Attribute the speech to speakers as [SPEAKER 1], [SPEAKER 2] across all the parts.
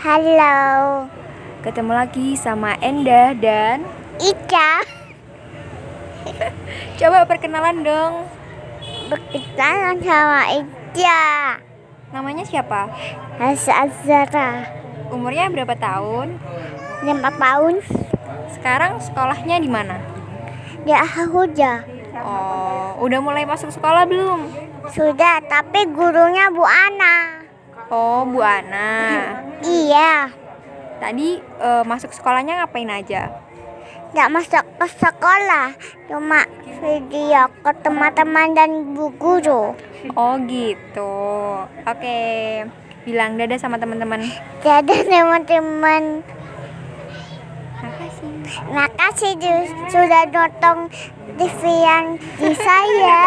[SPEAKER 1] Hello,
[SPEAKER 2] Ketemu lagi sama Endah dan
[SPEAKER 1] Ica.
[SPEAKER 2] coba perkenalan dong.
[SPEAKER 1] Berkenalan sama Ica.
[SPEAKER 2] Namanya siapa?
[SPEAKER 1] Hasa Azara.
[SPEAKER 2] Umurnya berapa tahun?
[SPEAKER 1] Lima tahun.
[SPEAKER 2] Sekarang sekolahnya di mana?
[SPEAKER 1] Dia huja.
[SPEAKER 2] Oh, udah mulai masuk sekolah belum?
[SPEAKER 1] Sudah, tapi gurunya Bu Ana.
[SPEAKER 2] Oh, Bu Ana.
[SPEAKER 1] Iya.
[SPEAKER 2] Tadi eh, masuk sekolahnya ngapain aja?
[SPEAKER 1] Tidak masuk ke sekolah. Cuma video ke teman-teman dan bu guru.
[SPEAKER 2] Oh, gitu. Oke. Bilang dadah sama teman-teman.
[SPEAKER 1] Jadi teman-teman
[SPEAKER 2] Makasih.
[SPEAKER 1] Makasih du- sudah nonton TV yang di saya.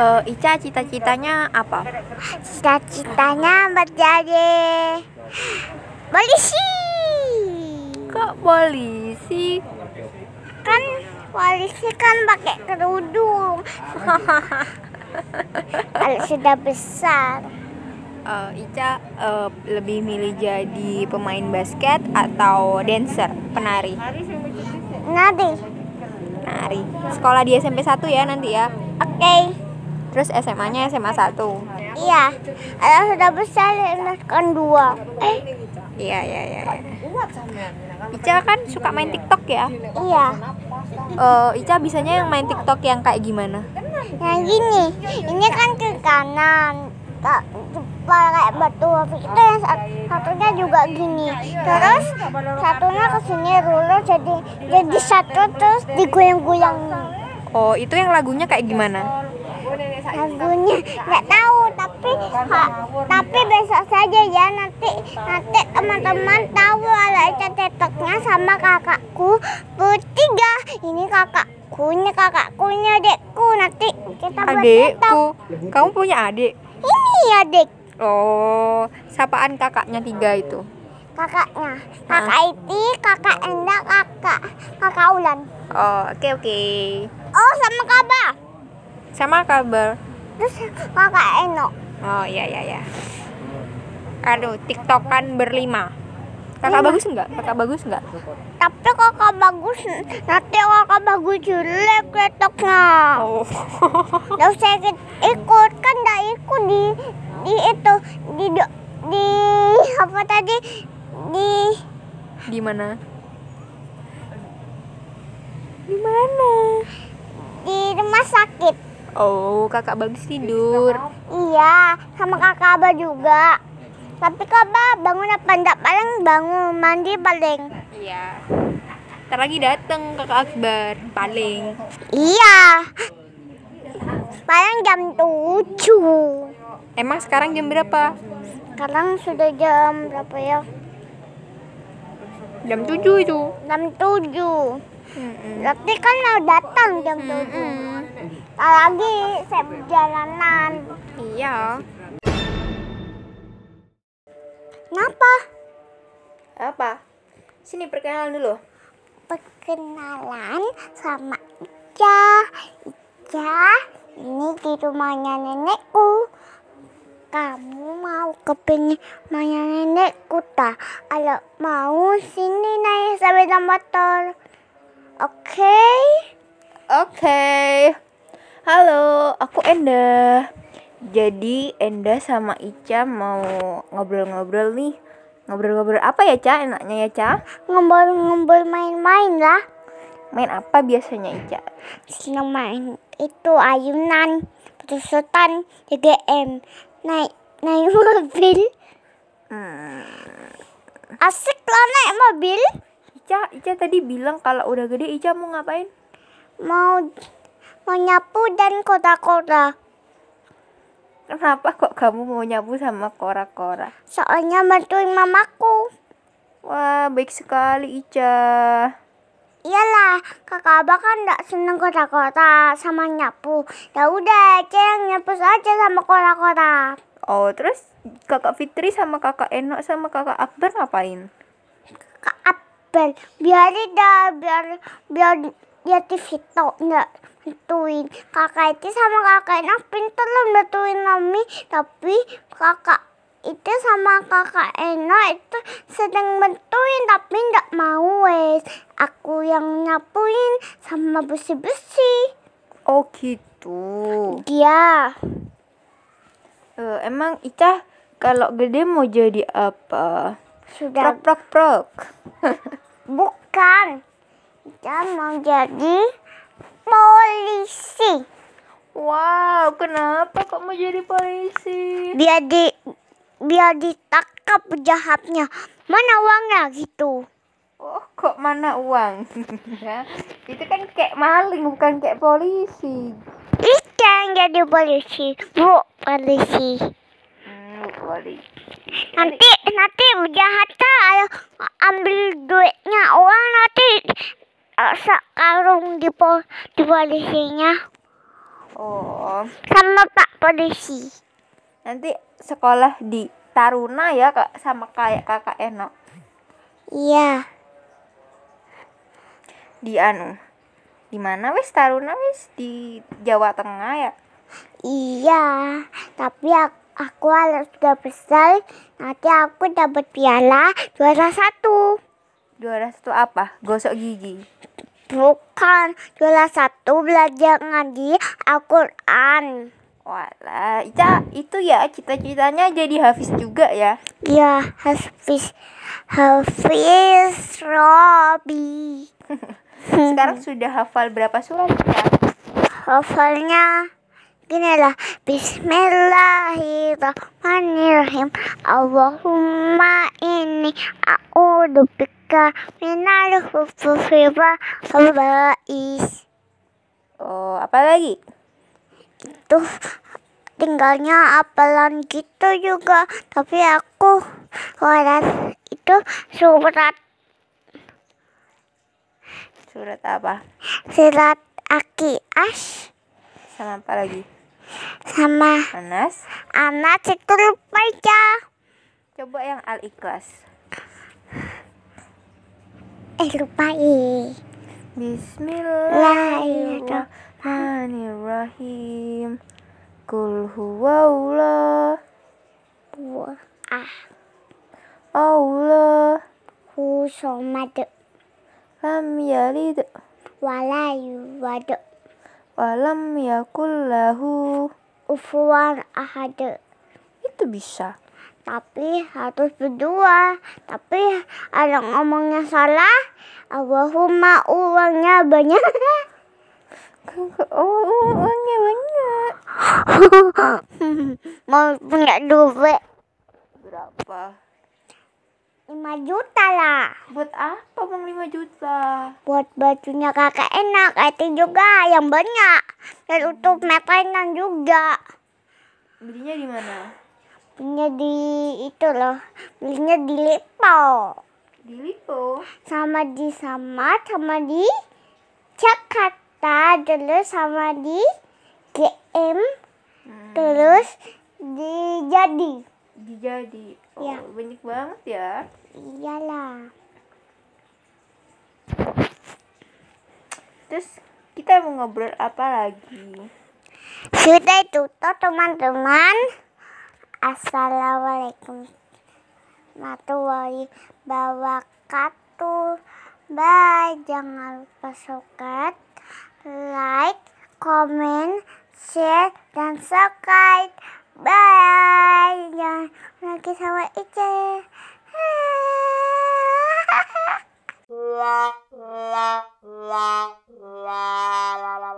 [SPEAKER 2] Eh, Ica cita-citanya apa?
[SPEAKER 1] Cita-citanya menjadi polisi.
[SPEAKER 2] Kok polisi?
[SPEAKER 1] Kan polisi kan pakai kerudung. Kalau sudah besar
[SPEAKER 2] Eh, Ica eh, lebih milih jadi pemain basket atau dancer, penari.
[SPEAKER 1] nanti.
[SPEAKER 2] Penari. Sekolah di SMP 1 ya nanti ya.
[SPEAKER 1] Oke,
[SPEAKER 2] Terus SMA-nya SMA 1.
[SPEAKER 1] iya. Kalau sudah besar kan dua. Eh,
[SPEAKER 2] Iya, iya, iya. iya. Ica kan suka main TikTok ya.
[SPEAKER 1] iya.
[SPEAKER 2] Eh, Ica bisanya yang main TikTok yang kayak gimana?
[SPEAKER 1] Yang gini, ini kan ke kanan. Tak jepal kayak batu api itu yang sat- satunya juga gini. Terus satunya ke sini ruler jadi jadi satu terus digoyang-goyang.
[SPEAKER 2] Oh, itu yang lagunya kayak gimana?
[SPEAKER 1] Lagunya nggak tahu tapi ha- tapi besok saja ya nanti nanti teman-teman tahu ala ceteknya sama kakakku bertiga. Ini kakakku, ini kakakku, ini adekku. Nanti kita buat cetok.
[SPEAKER 2] Adekku. Kamu punya adik?
[SPEAKER 1] Ini adek
[SPEAKER 2] Oh, sapaan kakaknya tiga itu.
[SPEAKER 1] kakaknya kakak Iti kakak Enda kakak kakak Ulan
[SPEAKER 2] Oh, oke oke.
[SPEAKER 1] oh sama Kaba
[SPEAKER 2] Sama kabar.
[SPEAKER 1] terus kakak Eno
[SPEAKER 2] Oh iya iya iya. Aduh, tiktokan berlima. Kakak bagus enggak? Kakak bagus enggak?
[SPEAKER 1] tapi kakak bagus nanti kakak bagus jelek ketoknya
[SPEAKER 2] Oh.
[SPEAKER 1] terus saya ikut- ikut kan nggak ikut di di itu di do- di apa tadi di
[SPEAKER 2] Gimana? Gimana?
[SPEAKER 1] di rumah sakit
[SPEAKER 2] Oh, kakak bagus tidur.
[SPEAKER 1] iya sama kakak Aba juga tapi kakak bangun apa enggak paling bangun mandi paling
[SPEAKER 2] Iya. Ntar lagi dateng kakak Akbar paling.
[SPEAKER 1] Iya. Sekarang jam 7.
[SPEAKER 2] Emang sekarang jam berapa?
[SPEAKER 1] Sekarang sudah jam berapa ya?
[SPEAKER 2] Jam 7 itu.
[SPEAKER 1] Jam 7. Berarti kan mau datang jam 7. Ntar lagi saya perjalanan.
[SPEAKER 2] Iya.
[SPEAKER 1] Kenapa?
[SPEAKER 2] Apa? Sini perkenalan dulu.
[SPEAKER 1] Perkenalan sama Ica. Ica, ini di rumahnya nenekku. Kamu mau ke rumahnya nenekku tak? Kalau mau sini naik sepeda motor. Oke?
[SPEAKER 2] Oke. Halo, aku Enda. Jadi Enda sama Ica mau ngobrol-ngobrol nih. Ngobrol-ngobrol apa ya, Ca? Enaknya ya, Ca?
[SPEAKER 1] Ngumpul-ngumpul main-main lah.
[SPEAKER 2] Main apa biasanya, Ica?
[SPEAKER 1] Senang main itu ayunan, petusutan, DGM. Naik naik mobil.
[SPEAKER 2] Hmm.
[SPEAKER 1] Asik lah naik mobil.
[SPEAKER 2] Ica, Ica tadi bilang kalau udah gede Ica mau ngapain?
[SPEAKER 1] mau mau nyapu dan kota-kota
[SPEAKER 2] Kenapa kok kamu mau nyapu sama kora-kora?
[SPEAKER 1] soalnya bantuin mamaku
[SPEAKER 2] Wah, baik sekali Ica.
[SPEAKER 1] iyalah kakak abah kan nggak seneng kota-kota sama nyapu ya udah Ece yang nyapu saja sama kota-kota
[SPEAKER 2] Oh, terus kakak Fitri sama kakak Eno sama kakak Akbar ngapain?
[SPEAKER 1] kak Abel biarin dah biar biar dia TV tok nggak bantuin kakak itu sama kakak enak pinter loh bantuin mami tapi kakak itu sama kakak Eno itu sedang bantuin tapi nggak mau wes. Aku yang nyapuin sama besi-besi.
[SPEAKER 2] Oh gitu.
[SPEAKER 1] Dia
[SPEAKER 2] Eh, emang Ica kalau gede mau jadi apa?
[SPEAKER 1] sudah
[SPEAKER 2] Prok prok prok.
[SPEAKER 1] bukan. Dia mau jadi polisi.
[SPEAKER 2] Wow, kenapa kok mau jadi polisi?
[SPEAKER 1] Biar di biar ditangkap jahatnya. Mana uangnya gitu.
[SPEAKER 2] Oh, kok mana uang? Ya, Itu kan kayak maling bukan kayak polisi.
[SPEAKER 1] Ikan jadi polisi, bu polisi.
[SPEAKER 2] Hmm, polisi.
[SPEAKER 1] Nanti nanti jahatnya ayo ambil duitnya uang nanti eh, sekarung di po, di polisinya
[SPEAKER 2] Oh,
[SPEAKER 1] sama pak polisi.
[SPEAKER 2] nanti sekolah di Taruna ya kak sama kayak kakak Eno
[SPEAKER 1] Iya.
[SPEAKER 2] di anu di mana wis Taruna wis di Jawa Tengah ya
[SPEAKER 1] Iya, tapi aku, aku harus udah besar, nanti aku dapat piala juara satu.
[SPEAKER 2] juara satu apa gosok gigi
[SPEAKER 1] Bukan juara satu belajar ngaji Al-Quran.
[SPEAKER 2] Walah, Ica itu ya cita-citanya jadi Hafiz juga ya.
[SPEAKER 1] Ya, Hafiz Hafiz Robi.
[SPEAKER 2] Sekarang sudah hafal berapa surat Ica?
[SPEAKER 1] Hafalnya gini lah. Bismillahirrahmanirrahim. Allahumma inni a'udzu bika minal khubuthi wal khaba'is.
[SPEAKER 2] Oh, apa lagi?
[SPEAKER 1] Tuh tinggalnya apalan gitu juga, tapi aku waras itu surat
[SPEAKER 2] Surat apa?
[SPEAKER 1] sirat akias
[SPEAKER 2] Sama apa lagi?
[SPEAKER 1] sama
[SPEAKER 2] Anas.
[SPEAKER 1] anak itu lupa ya
[SPEAKER 2] Coba yang Al-Ikhlas.
[SPEAKER 1] eh lupa ih
[SPEAKER 2] Bismillahirrahmanirrahim. Kul huwallah.
[SPEAKER 1] Wah, ah
[SPEAKER 2] Allah.
[SPEAKER 1] ku somad
[SPEAKER 2] Lam yalid
[SPEAKER 1] walayu wad
[SPEAKER 2] walam yakul lahu.
[SPEAKER 1] ufuan ahad
[SPEAKER 2] Itu bisa.
[SPEAKER 1] tapi harus berdua tapi ada ngomongnya salah Allahumma uangnya banyak
[SPEAKER 2] Oh, uangnya banyak.
[SPEAKER 1] mau punya duit
[SPEAKER 2] Berapa?
[SPEAKER 1] 5 juta lah
[SPEAKER 2] Buat apa bang 5 juta?
[SPEAKER 1] buat bajunya kakak enak itu juga yang banyak dan untuk makanan juga
[SPEAKER 2] Belinya di mana?
[SPEAKER 1] punya di itu loh belinya di Lipo
[SPEAKER 2] Di Lipo.
[SPEAKER 1] sama di sama sama di Jakarta terus sama di GM terus di jadi
[SPEAKER 2] Dijadi. Oh,
[SPEAKER 1] Iya.
[SPEAKER 2] banyak banget ya.
[SPEAKER 1] iyalah
[SPEAKER 2] Terus kita mau ngobrol apa lagi?
[SPEAKER 1] sudah itu tuh teman-teman assalamualaikum warahmatullahi wabarakatuh bye jangan lupa subscribe like comment share dan subscribe bye jangan lagi sama Ice la la la la la la